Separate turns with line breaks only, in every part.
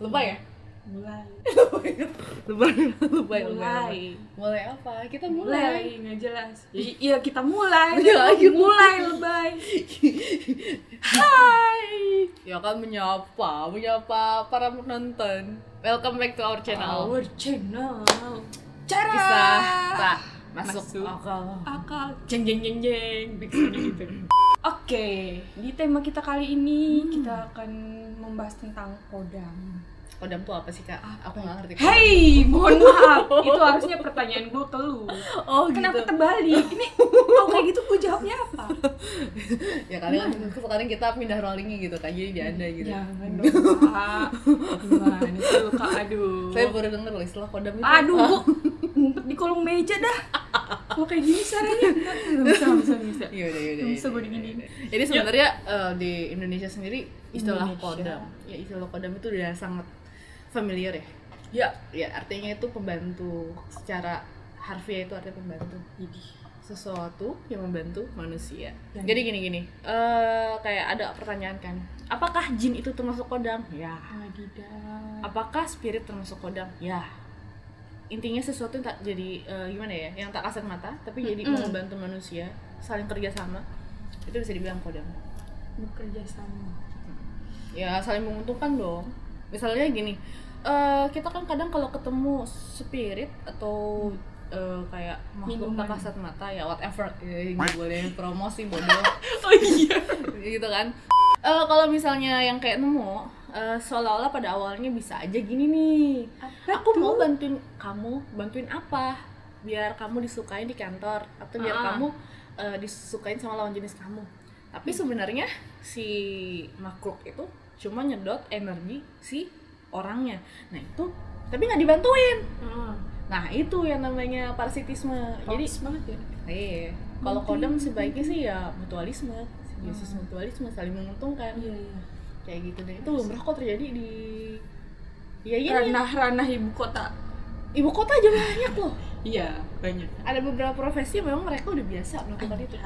Lebay ya?
mulai
Lebay, lebay,
Eh, mulai
Mulai apa? Kita mulai.
mulai nggak jelas I- iya kita mulai
Iya,
mulai,
iya.
mulai lebay hai
Ya kan menyapa, menyapa para penonton. Welcome back to our channel.
our channel cara
Kisah tak Ah. masuk,
Masuk.
akal.
akal jeng jeng jeng jeng bikinnya gitu Oke, di tema kita kali ini kita akan membahas tentang kodam.
Kodam tuh apa sih kak? Aku nggak ngerti.
Hei, mohon maaf, itu harusnya pertanyaan gue ke lu.
Oh
Kenapa terbalik? Ini kalau kayak gitu gue jawabnya apa?
ya kali
Iya.
sekarang kita pindah rollingi gitu kak, jadi di anda gitu.
Jangan dong kak Gimana tuh kak, aduh
Saya baru denger loh istilah kodam itu.
Aduh
apa.
gua ngumpet di kolong meja dah Kalau kayak gini caranya Nggak bisa, nggak bisa, nggak bisa
Iya, iya, iya.
Nggak bisa gua diginiin. Iya.
Jadi sebenarnya eh, di Indonesia sendiri istilah
Indonesia.
kodam, ya istilah kodam itu udah sangat familiar ya.
Iya.
Ya, ya artinya itu pembantu secara harfiah itu artinya pembantu
Jadi
sesuatu yang membantu manusia.
Dan-
Jadi gini gini, eh kayak ada pertanyaan kan, apakah jin itu termasuk kodam? Ya.
Adidas
Apakah spirit termasuk kodam? Ya. Intinya sesuatu yang tak jadi eh, gimana ya, yang tak kasat mata, tapi jadi
Mm-mm.
membantu manusia, saling kerjasama, itu bisa dibilang kodam.
Bekerja sama
Ya saling menguntungkan dong. Misalnya gini, eh, kita kan kadang kalau ketemu spirit atau eh, kayak makhluk tak
Minuman.
kasat mata ya whatever, eh, nggak boleh promosi bodoh.
Oh iya
gitu kan Eh, kalau misalnya yang kayak nemu eh, seolah-olah pada awalnya bisa aja gini nih
Apa
aku mau bantuin kamu bantuin apa biar kamu disukain di kantor atau biar
Ah.
kamu eh, disukain sama lawan jenis kamu tapi
Hmm.
sebenarnya si makhluk itu cuma nyedot energi si orangnya nah itu tapi nggak dibantuin nah itu yang namanya parasitisme
Jadi
jadi
semangat ya
Iya. Kalau
Penting.
kodam sebaiknya sih ya mutualisme, simbiosis
Hmm.
mutualisme saling menguntungkan
Iya, iya
kayak gitu deh. Itu lumrah kok terjadi di ya iya nih,
Ranah-ranah ibu kota
ibu kota aja banyak loh.
Iya, banyak
Ada beberapa profesi yang memang mereka udah biasa melakukan itu.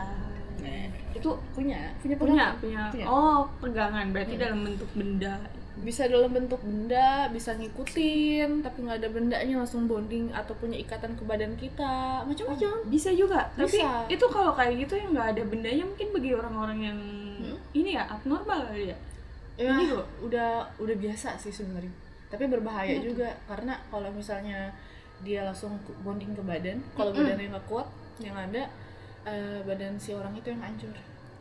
Nah, itu punya punya
Iya. Punya,
pegangan.
punya
Punya.
Oh, pegangan Berarti
Iya.
dalam bentuk benda
bisa dalam bentuk benda bisa ngikutin tapi nggak ada bendanya langsung bonding atau punya ikatan ke badan kita macam-macam
Oh, bisa juga tapi
Bisa.
itu kalau kayak gitu yang nggak ada bendanya mungkin bagi orang-orang yang
Hmm?
ini ya abnormal kali ya
Ya,
Ini kok.
udah udah biasa sih sebenarnya. Tapi berbahaya
Iya tuh.
juga karena kalau misalnya dia langsung ke- bonding ke badan, kalau
Mm-mm.
badannya nggak kuat, yang ada eh, badan si orang itu yang hancur.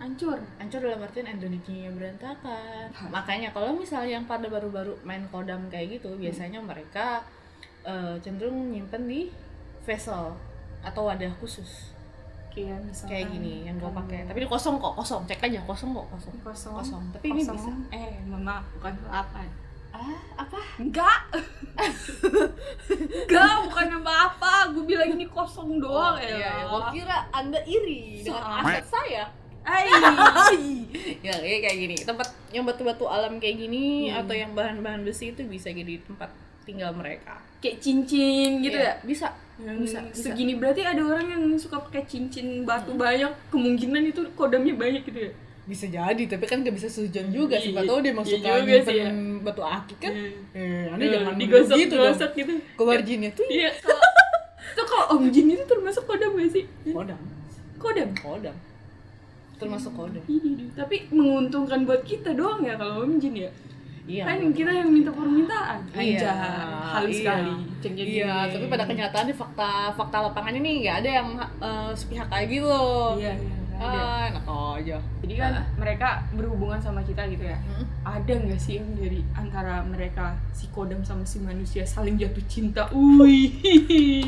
hancur
Hancur dalam artian energinya berantakan.
Hah.
Makanya kalau misalnya yang pada baru-baru main kodam kayak gitu, biasanya mereka eh, cenderung nyimpen di vessel atau wadah khusus
kayak misalkan
kayak gini yang gue
kalau
pakai. Tapi ini kosong kok, kosong. Cek aja kosong kok, kosong.
kosong
Kosong. Oh, Tapi ini
kosong
bisa.
eh mama bukan apa ya.
Ah, apa?
enggak enggak bukan apa apa gue bilang ini kosong
Oh,
doang ya
iya, iya. Gua kira Anda iri dengan
Sama.
aset saya. ya kayak kayak gini. Tempat yang batu-batu alam kayak gini
Hmm.
atau yang bahan-bahan besi itu bisa jadi tempat tinggal mereka.
kayak cincin gitu
Iya,
ya
Bisa.
Yang
Bisa, bisa.
segini berarti ada orang yang suka pakai cincin batu banyak kemungkinan itu kodamnya banyak gitu ya
Bisa jadi, tapi kan gak bisa sejam juga.
Iya,
Siapa tahu dia
iya
masuk
juga
nyimpen
sih, ya.
batu akik kan.
Iya.
Eh, Anda
Iya,
jangan
digosok
gitu dong.
digosok gitu
Keluar jinnya tuh ya?
iya kalau- itu kalau om jin itu termasuk kodam gak sih
kodam.
kodam
Kodam. Termasuk kodam.
Ih, tapi menguntungkan buat kita doang ya kalau om jin ya
Iya.
kan kita yang minta permintaan
Iya.
aja halus
Iya.
sekali Ceng ceng
Iya,
ceng.
tapi pada kenyataannya fakta fakta lapangannya nih nggak ada yang eh, sepihak kayak gitu.
iya iya nggak ada.
Ah, enak aja.
jadi kan mereka berhubungan sama kita gitu ya
Mm.
ada nggak sih yang dari antara mereka si kodam sama si manusia saling jatuh cinta Wih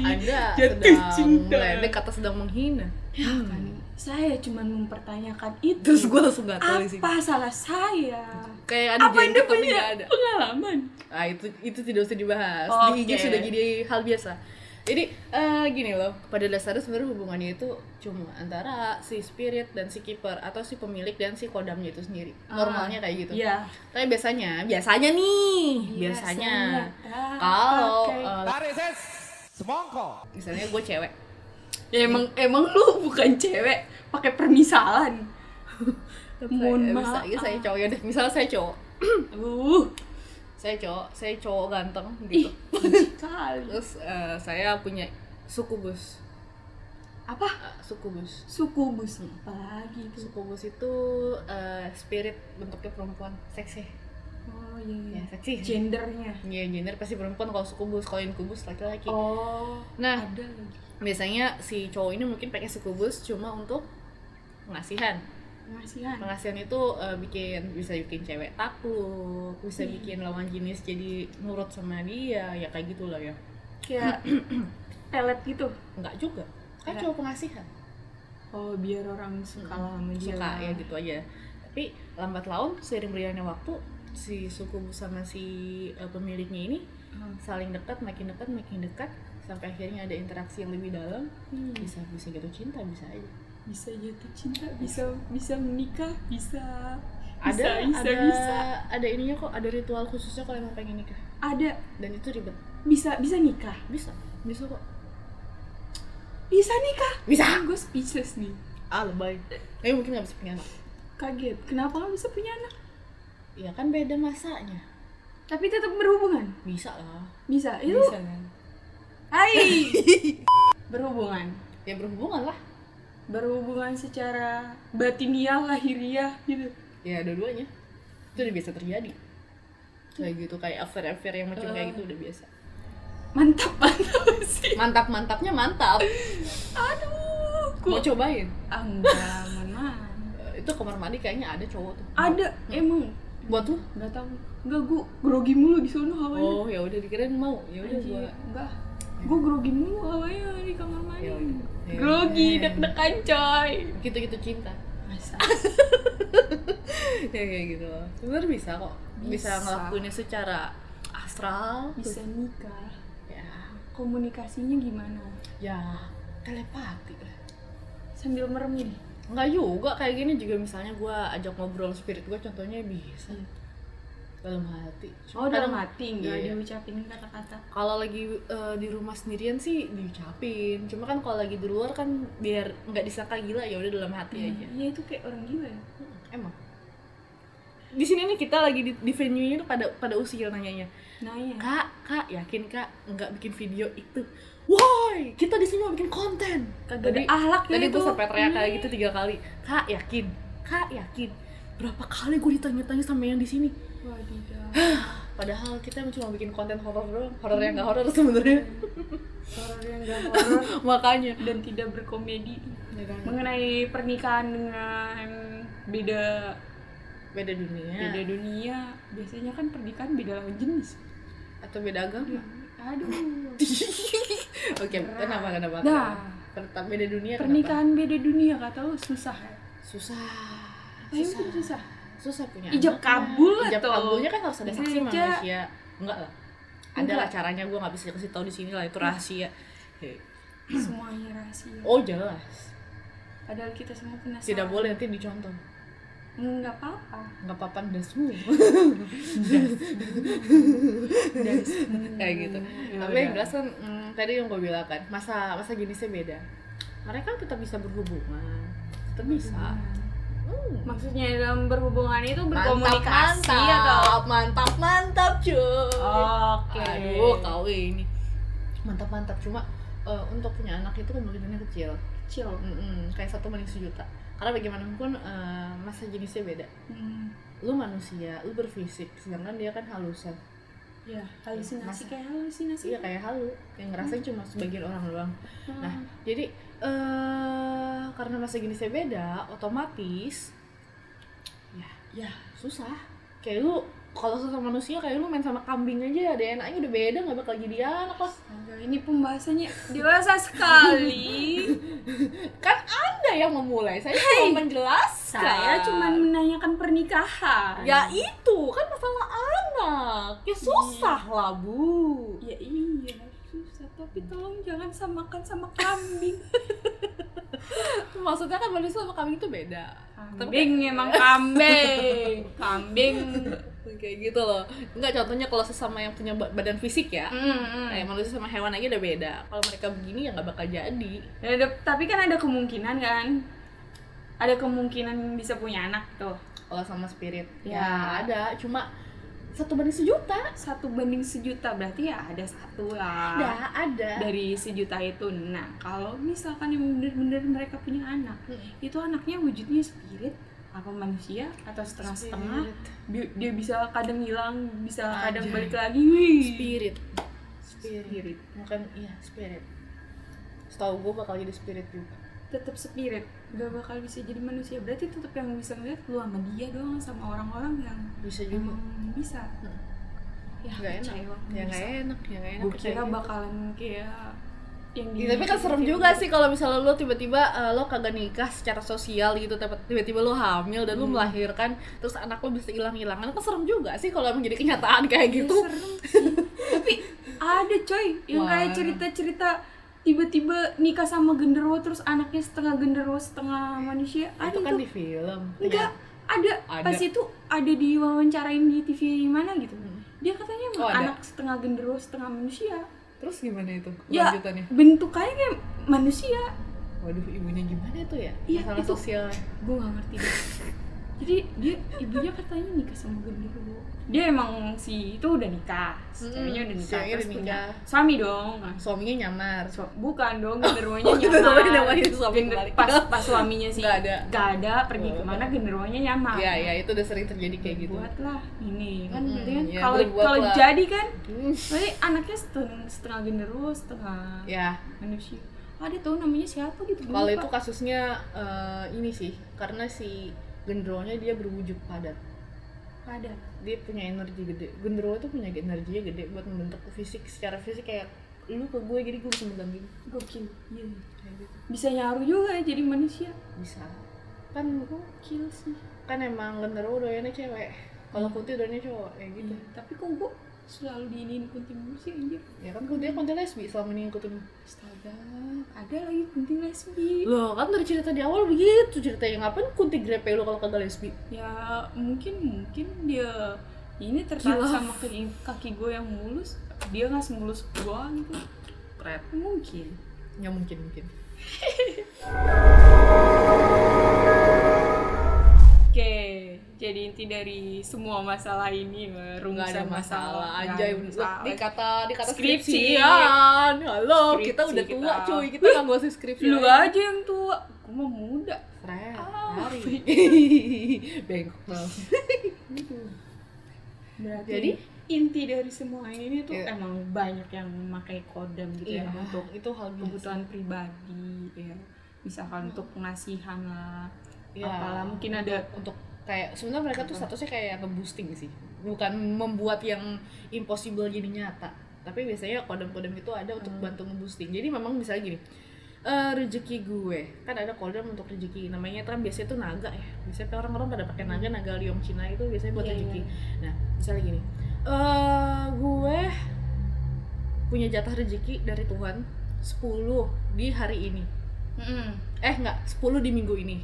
Ah, Anda
Jatuh
sedang
cinta.
meledek atau sedang menghina.
ya kan saya cuma mempertanyakan itu
Terus gue langsung gatel di sini.
apa salah saya
Kayak ada
apa anda
jentik tapi
punya
nggak ada.
pengalaman
Ah itu itu tidak usah dibahas. Di IG
Oke.
sudah jadi hal biasa. Jadi eh, gini loh, pada dasarnya sebenarnya hubungannya itu cuma antara si spirit dan si keeper atau si pemilik dan si kodamnya itu sendiri.
Ah.
Normalnya kayak gitu.
Iya.
Tapi biasanya, biasanya nih, biasanya kalau eh,
Tarik ses semongko.
misalnya gue cewek,
ya, emang emang lu bukan cewek pakai permisalan mohon
Eh,
maaf
bisa- iya, saya cowok ya Misalnya saya cowok,
uh
saya cowok saya cowok ganteng gitu
Kali.
terus eh, saya punya sukubus
Apa?
Eh, sukubus
Sukubus apa lagi itu?
sukubus itu eh, spirit bentuknya perempuan seksi
Oh iya.
ya
iya.
seksi
Gendernya.
Iya, gender pasti perempuan kalau sukubus, kalau inkubus laki-laki.
Oh.
Nah,
Ada lagi.
biasanya si cowok ini mungkin pakai sukubus cuma untuk pengasihan.
Pengasihan.
Pengasihan itu eh, bikin bisa bikin cewek takut, bisa
Hmm.
bikin lawan jenis jadi nurut sama dia, ya kayak gitulah ya.
Kayak pelet gitu.
Enggak juga. Kan
Enggak.
cowok pengasihan.
Oh biar orang suka lah sama dia.
Suka
lah.
ya gitu aja. Tapi lambat laun seiring berjalannya waktu si sukubus sama si eh, pemiliknya ini
Hmm.
saling dekat, makin dekat, makin dekat sampai akhirnya ada interaksi yang lebih dalam
Hmm.
bisa bisa gitu cinta bisa aja
Bisa jatuh cinta, bisa bisa menikah, bisa
ada
Bisa, bisa,
ada
bisa.
ada ininya kok ada ritual khususnya kalau emang pengen nikah
ada
dan itu ribet
bisa bisa nikah.
bisa bisa kok
Bisa nikah.
bisa
Gue speechless nih.
ah lebay tapi mungkin nggak bisa punya anak
Kaget. Kenapa nggak bisa punya anak?
ya kan beda masanya
Tapi tetap berhubungan.
bisa lah
Bisa. Itu.
bisa kan
Hai. berhubungan.
ya berhubungan lah
Berhubungan secara batiniah, lahiriah gitu.
ya dua-duanya itu udah biasa terjadi kayak gitu kayak affair affair yang macam kayak gitu udah biasa
Mantap mantap sih.
mantap mantapnya mantap
Aduh.
mau
Kok
cobain
ah, enggak, mana.
Eh, itu kamar mandi kayaknya ada cowok tuh
Ada emang
buat tuh
Gak tau, gak gue grogi mulu di sono hawanya
oh ya udah dikirain mau ya udah
Anjir,
gua
enggak Gue grogi mulu hawanya di kamar mandi
Ya udah. Ya
Grogi,
udah.
deg-degan coy
gitu-gitu cinta
Masa?
ya kayak gitu loh sebenarnya bisa kok bisa,
Bisa.
ngelakuinnya secara astral
Bisa nikah
ya
Komunikasinya gimana?
ya telepati lah
Sambil merem nih
nggak juga kayak gini juga misalnya gua ajak ngobrol spirit gua contohnya bisa
Iya.
dalam hati
Oh
Cuma
dalam
kadang-
hati, gak
Iya.
diucapin kata-kata
kalau lagi eh, di rumah sendirian sih diucapin cuma kan kalau lagi di luar kan biar nggak disangka gila ya udah dalam hati aja
Iya itu kayak orang gila ya
emang di sini nih kita lagi di, di venue nya tuh pada pada usil nanyanya
Naya
kak kak yakin kak nggak bikin video itu woi kita di sini mau bikin konten
Kagak ada
Tadi-
ahlaknya
tadi gue
itu.
sampai teriak kayak
Iya.
gitu tiga kali kak yakin kak yakin berapa kali gue ditanya-tanya sama yang di sini
Wadidaw
padahal kita cuma bikin konten horor doang horor yang nggak horor sebenarnya
Horor yang gak horor
makanya
dan tidak berkomedi Mengenai pernikahan dengan beda
beda dunia
beda dunia biasanya kan pernikahan beda lawan jenis
atau beda agama
aduh
oke kenapa kenapa
Nah.
kenapa beda dunia Iya, kenapa?
pernikahan beda dunia kata lu susah ya
susah
Ayo susah. susah
susah punya
Ijab
anak
kabul
lah. ijab
atau-
kabulnya kan harus ada saksi sama
Gereja.
manusia enggak lah ada
Enggak.
lah caranya gue nggak bisa kasih tahu di sini lah itu rahasia Hei.
semuanya rahasia
oh jelas
padahal kita semua penasaran
tidak boleh nanti dicontoh
nggak apa-apa
nggak apa-apa dah semua
Dan-
kayak gitu
Ya
tapi
udah.
yang jelas kan mm, tadi yang gue bilang kan masa masa jenisnya beda mereka tetap bisa berhubungan tetap bisa Hmm.
maksudnya dalam berhubungan itu
mantap
berkomunikasi
mantap ya,
atau
mantap mantap cuy
oke
aduh kau ini mantap mantap cuma eh, untuk punya anak itu kemungkinannya kecil
kecil
Mm-mm, kayak satu banding sejuta karena bagaimanapun eh, masa jenisnya beda
Hmm.
lu manusia lu berfisik sedangkan dia kan halusan
ya halusinasi
Masa-
kayak
iya
halusinasi
kayak halu yang ngerasain cuma sebagian orang doang
Hmm.
nah jadi eh karena masa jenisnya beda otomatis ya ya susah kayak lu kalau sesama manusia kayak lu main sama kambing aja DNA-nya udah beda nggak bakal jadi anak lah
Astaga, ini pembahasannya dewasa sekali
kan anda yang memulai saya cuma menjelaskan
Saya cuma menanyakan pernikahan.
ya itu kan masalah anak ya susah lah bu
Ya iya, susah. Tapi tolong jangan samakan sama kambing.
maksudnya kan manusia sama kambing itu beda
emang kambing. Kambing.
kayak gitu loh enggak contohnya kalau sesama yang punya ba- badan fisik ya
Mm-mm.
kayak manusia sama hewan aja udah beda kalau mereka begini ya nggak bakal jadi
Ya, ada- tapi kan ada kemungkinan kan? Ada kemungkinan bisa punya anak tuh.
kalau sama spirit
Ya.
ada cuma satu banding sejuta
satu banding sejuta berarti ya ada satu lah
ada ada
dari sejuta itu nah kalau misalkan yang bener-bener mereka punya anak
Hmm.
itu anaknya wujudnya spirit apa manusia atau setengah-setengah
Spirit.
Bi- dia bisa kadang hilang bisa kadang
Anjay.
balik lagi wih
spirit spirit
spirit
bukan iya spirit setahu gue bakal jadi spirit juga
tetap spirit gak bakal bisa jadi manusia berarti tetap yang bisa ngeliat lu sama dia doang sama orang-orang yang
bisa juga
emang bisa
Hmm.
ya
nggak enak
kecewa,
ya
bisa.
nggak enak ya nggak enak
gue
percaya
kira
gitu.
bakalan kayak yang
Ya, tapi kan serem juga sih kalau misalnya lo tiba-tiba eh, lo kagak nikah secara sosial gitu tiba- tiba-tiba lo hamil dan lo
Hmm.
melahirkan terus anak lo bisa hilang-hilangan kan serem juga sih kalau emang jadi kenyataan
Iya,
kayak gitu
tapi ada coy yang kayak
Wah.
cerita-cerita tiba-tiba nikah sama genderuwo terus anaknya setengah genderuwo setengah manusia ada
itu kan
tuh.
di film
enggak ada.
Ada.
pas itu ada di wawancarain di TV mana gitu
Hmm.
dia katanya emang
Oh, ada.
anak setengah genderuwo setengah manusia
Iya. terus gimana itu
ya
lanjutannya
bentukannya kayak manusia
waduh ibunya gimana itu ya
Iya,
masalah
itu.
sosial
gue gak ngerti deh jadi dia ibunya katanya nikah sama genderuwo dia emang si itu udah nikah si
Mm-mm,
ceweknya udah
Hmm, si
nikah
ceweknya
terus
udah
punya
nikah.
suami dong Nah,
suaminya nyamar
su- bukan dong genderuwonya
Oh,
nyamar
genderuwonya nyamar, itu suami
Gender-
kembali.
pas pas suaminya sih
Nggak ada.
nggak ada pergi
Oh.
kemana genderuwonya nyamar
Iya, iya, itu udah sering terjadi kayak gitu.
buatlah ini kan
Mm-mm,
berarti kan
iya,
kalau
berbuat
kalau
lah.
jadi kan
Hmm.
berarti anaknya setengah, setengah genderuwo setengah
Ya,
manusia ada tuh namanya siapa gitu gua
kalau
lupa.
itu kasusnya eh, ini sih, karena si gendronya dia berwujud padat.
ada
Dia punya energi gede. Gendro itu punya energinya gede buat membentuk fisik secara fisik kayak lu ke gue jadi gue bisa megang gini.
gokil iya
Kayak gitu.
bisa nyaru juga ya jadi manusia
Bisa. Kan
gokil sih
kan emang gendro doyannya cewek. Kalau kunti doyannya cowok kayak gitu.
Iya, tapi kok gue selalu diinin kunti mulu sih anjir
Ya kan kunti kunti lesbi selama ini ngikutin.
astaga ada lagi kunti lesbi
Loh, kan dari cerita di awal begitu ceritanya ngapain kunti grepe lu kalau kagak lesbi?
ya mungkin mungkin dia ini tertarik
Gila.
sama kaki, kaki gue yang mulus dia nggak semulus gue gitu
Keren.
mungkin
Ya mungkin mungkin.
Oke, jadi inti dari semua masalah ini
nggak
rumusan
ada masalah aja di kata di kata
Skripsi.
skripsian halo
Skripsi
kita kan? udah tua
kita.
cuy kita nggak nguasain skripsi
Lu
lagi.
aja yang tua, gue mah muda.
Fred,
Ah.
lari. bengkok dong
Berarti
Jadi?
inti dari semua ini tuh
Iya.
emang banyak yang memakai kodam gitu
iya
ya untuk
itu hal biasa.
kebutuhan pribadi ya. Misalkan untuk pengasihan lah.
Iya.
Apalah mungkin ada
untuk kayak sebenarnya mereka tuh statusnya kayak nge-boosting sih bukan membuat yang impossible jadi nyata tapi biasanya kodam-kodam itu ada untuk
Hmm.
bantu nge-boosting jadi memang misalnya gini eh rezeki gue kan ada kodam untuk rezeki namanya kan biasanya tuh naga ya biasanya tuh orang-orang pada pakai naga naga liong Cina itu biasanya buat
Iya,
rezeki
iya.
nah misalnya gini eh gue punya jatah rezeki dari Tuhan 10 di hari ini
Mm-mm,
eh enggak 10 di minggu ini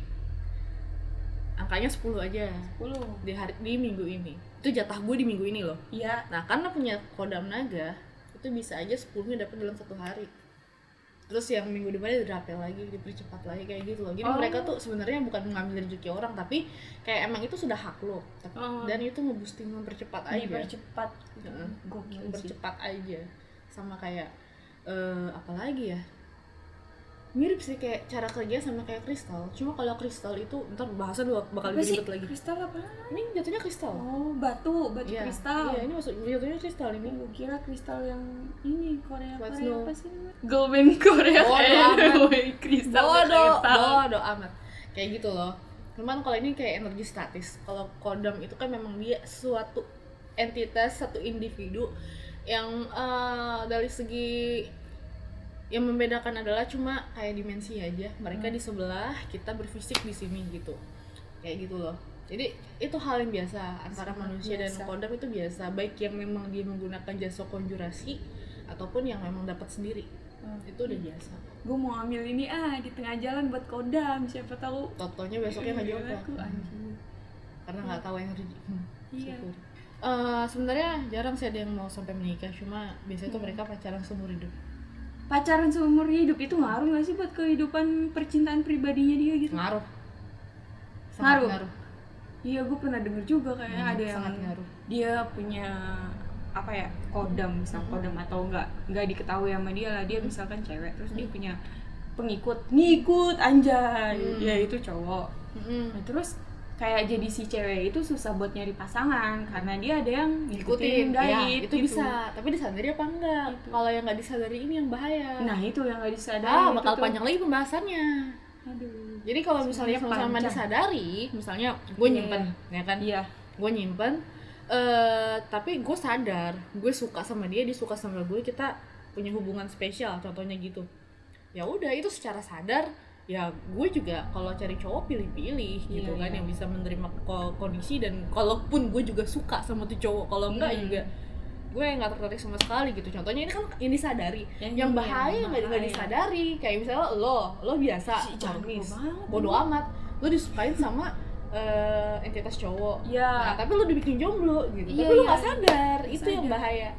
angkanya 10 aja
10.
di hari di minggu ini itu jatah gue di minggu ini loh
Iya,
nah karena punya kodam naga itu bisa aja 10 nya dapat dalam satu hari terus yang minggu depannya dirapel lagi dipercepat lagi kayak gitu loh jadi
Oh.
mereka tuh sebenarnya bukan mengambil rezeki orang tapi kayak emang itu sudah hak lo Tapi-
Oh.
dan
Iya,
itu nge-boosting mempercepat aja
dipercepat.
Heeh.
Gokil ya. Iya sih.
mempercepat Gitu aja sama kayak eh apalagi ya mirip sih kayak cara kerja sama kayak kristal cuma kalau kristal itu ntar bahasa dua bakal
Apa sih?
ribet lagi
Kristal apa?
ini jatuhnya kristal
Oh, batu, batu
Iya,
kristal.
iya ini masuk jatuhnya kristal ini
Gue kira kristal yang ini Korea
What's
Korea
no?
apa sih namanya? Golden Korea
Bodoh
Airway kristal
bodoh
kristal.
bodoh amat kayak gitu loh cuman kalau ini kayak energi statis kalau kodam itu kan memang dia suatu entitas satu individu yang eh, dari segi yang membedakan adalah cuma kayak dimensi aja mereka di sebelah kita berfisik di sini gitu kayak gitu loh jadi itu hal yang biasa antara
Sangat
manusia dan
biasa.
kodam itu biasa baik yang memang dia menggunakan jasa konjurasi ataupun yang memang dapat sendiri itu udah biasa
Gue mau ambil ini ah di tengah jalan buat kodam, siapa tahu
Totonya besoknya nggak
Iya,
jawab
aku, anjing.
karena nggak tahu yang rezeki. Hmm,
Iya.
syukur. Eh, sebenarnya jarang sih ada yang mau sampai menikah, cuma biasanya
Hmm.
tuh mereka pacaran seumur hidup.
Pacaran seumur hidup itu ngaruh gak sih buat kehidupan percintaan pribadinya dia gitu?
Ngaruh.
Ngaruh. Iya, gue pernah denger juga kayaknya
Hmm,
ada yang
sangat ngaruh.
dia punya apa ya kodam misal kodam atau enggak nggak diketahui sama dia lah dia misalkan cewek terus dia punya pengikut ngikut anjay
Hmm.
ya itu cowok
Mm-mm.
Nah, terus kayak jadi si cewek itu susah buat nyari pasangan karena dia ada yang
Ikutin,
ngikutin gaib
ya, itu
gitu.
bisa. Tapi disadari apa enggak? Kalau yang nggak disadari ini yang bahaya.
nah itu yang gak disadari
Ah,
itu
bakal
tuh.
panjang lagi pembahasannya.
aduh
Jadi kalau misalnya
Sebenarnya
sama-sama
panjang.
disadari, misalnya gue
Iya.
nyimpen, ya kan?
iya
Gue nyimpen, eh tapi gue sadar, gue suka sama dia, dia suka sama gue, kita punya hubungan spesial, contohnya gitu. Ya udah, itu secara sadar, ya gue juga kalau cari cowok pilih-pilih gitu
Iya,
kan
iya.
yang bisa menerima ko- kondisi dan kalaupun gue juga suka sama tuh cowok, kalau enggak
Hmm.
juga gue nggak tertarik sama sekali gitu. Contohnya ini kan yang disadari,
Yang
yang
iya,
bahaya
yang
nggak nggak
bahaya.
disadari kayak misalnya lo lo biasa
Si jago
Marmis.
banget.
bodoh amat lo disukain sama eh, entitas cowok
Iya.
nah, tapi lo dibikin jomblo gitu
Iya,
tapi lo
iya.
nggak sadar itu yang
Sadar.
bahaya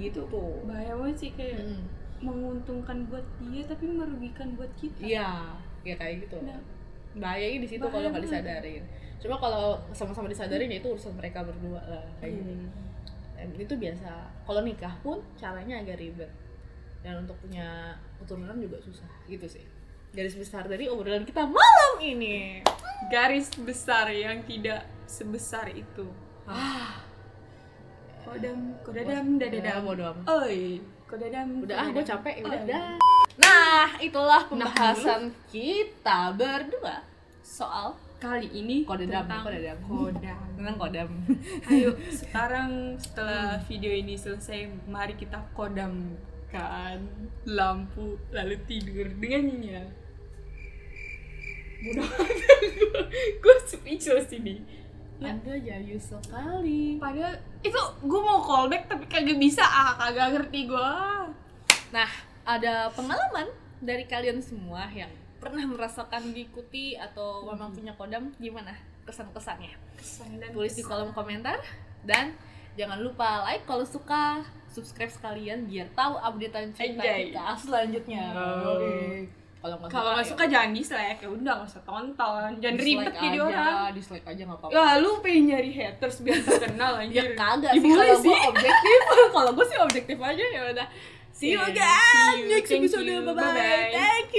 gitu tuh
bahaya banget sih kayak
Mm-mm.
menguntungkan buat dia tapi merugikan buat kita
iya ya kayak gitu
Nah.
bahayanya di situ
Bahaya
kalau nggak
banget.
disadarin cuma kalau sama-sama disadarin ya itu urusan mereka berdua lah kayak gitu
Iya.
Dan itu biasa kalau nikah pun caranya agak ribet dan untuk punya keturunan juga susah gitu sih garis besar dari obrolan kita malam ini
garis besar yang tidak sebesar itu Ah. kodam kodadam dadadam
bodo amat.
oi kodadam
udah ah gue
kodadam.
capek ya udah
Oi.
dah nah itulah pembahasan kita berdua soal
kali ini
Kodadam,
tentang
kodadam.
kodam
tentang kodam
ayo sekarang setelah video ini selesai mari kita kodamkan lampu lalu tidur dengannya mudah gue speechless ini Ya.
anda jayu sekali
padahal itu gue mau callback tapi kagak bisa ah kagak ngerti gue
Nah, ada pengalaman dari kalian semua yang pernah merasakan diikuti atau memang punya kodam gimana kesan-kesannya?
kesan dan
Tulis di kolom komentar dan jangan lupa like kalau suka, subscribe sekalian biar tahu updatean cerita
Anjay.
kita selanjutnya.
Oh.
Kalau nggak
kalau nggak
ya
suka jangan dislike ya udah nggak usah tonton jangan
dislike
ribet jadi
aja,
orang
Dislike aja nggak apa-apa.
ya lu pengen nyari haters biar terkenal
Ya
anjir
kagak sih
iya. Dibully
kalau
sih.
gue objektif. kalau gue sih objektif aja ya udah. See you
Yeah,
again
see you.
next
Thank
episode.
you.
Bye bye.
Bye-bye.
Thank you.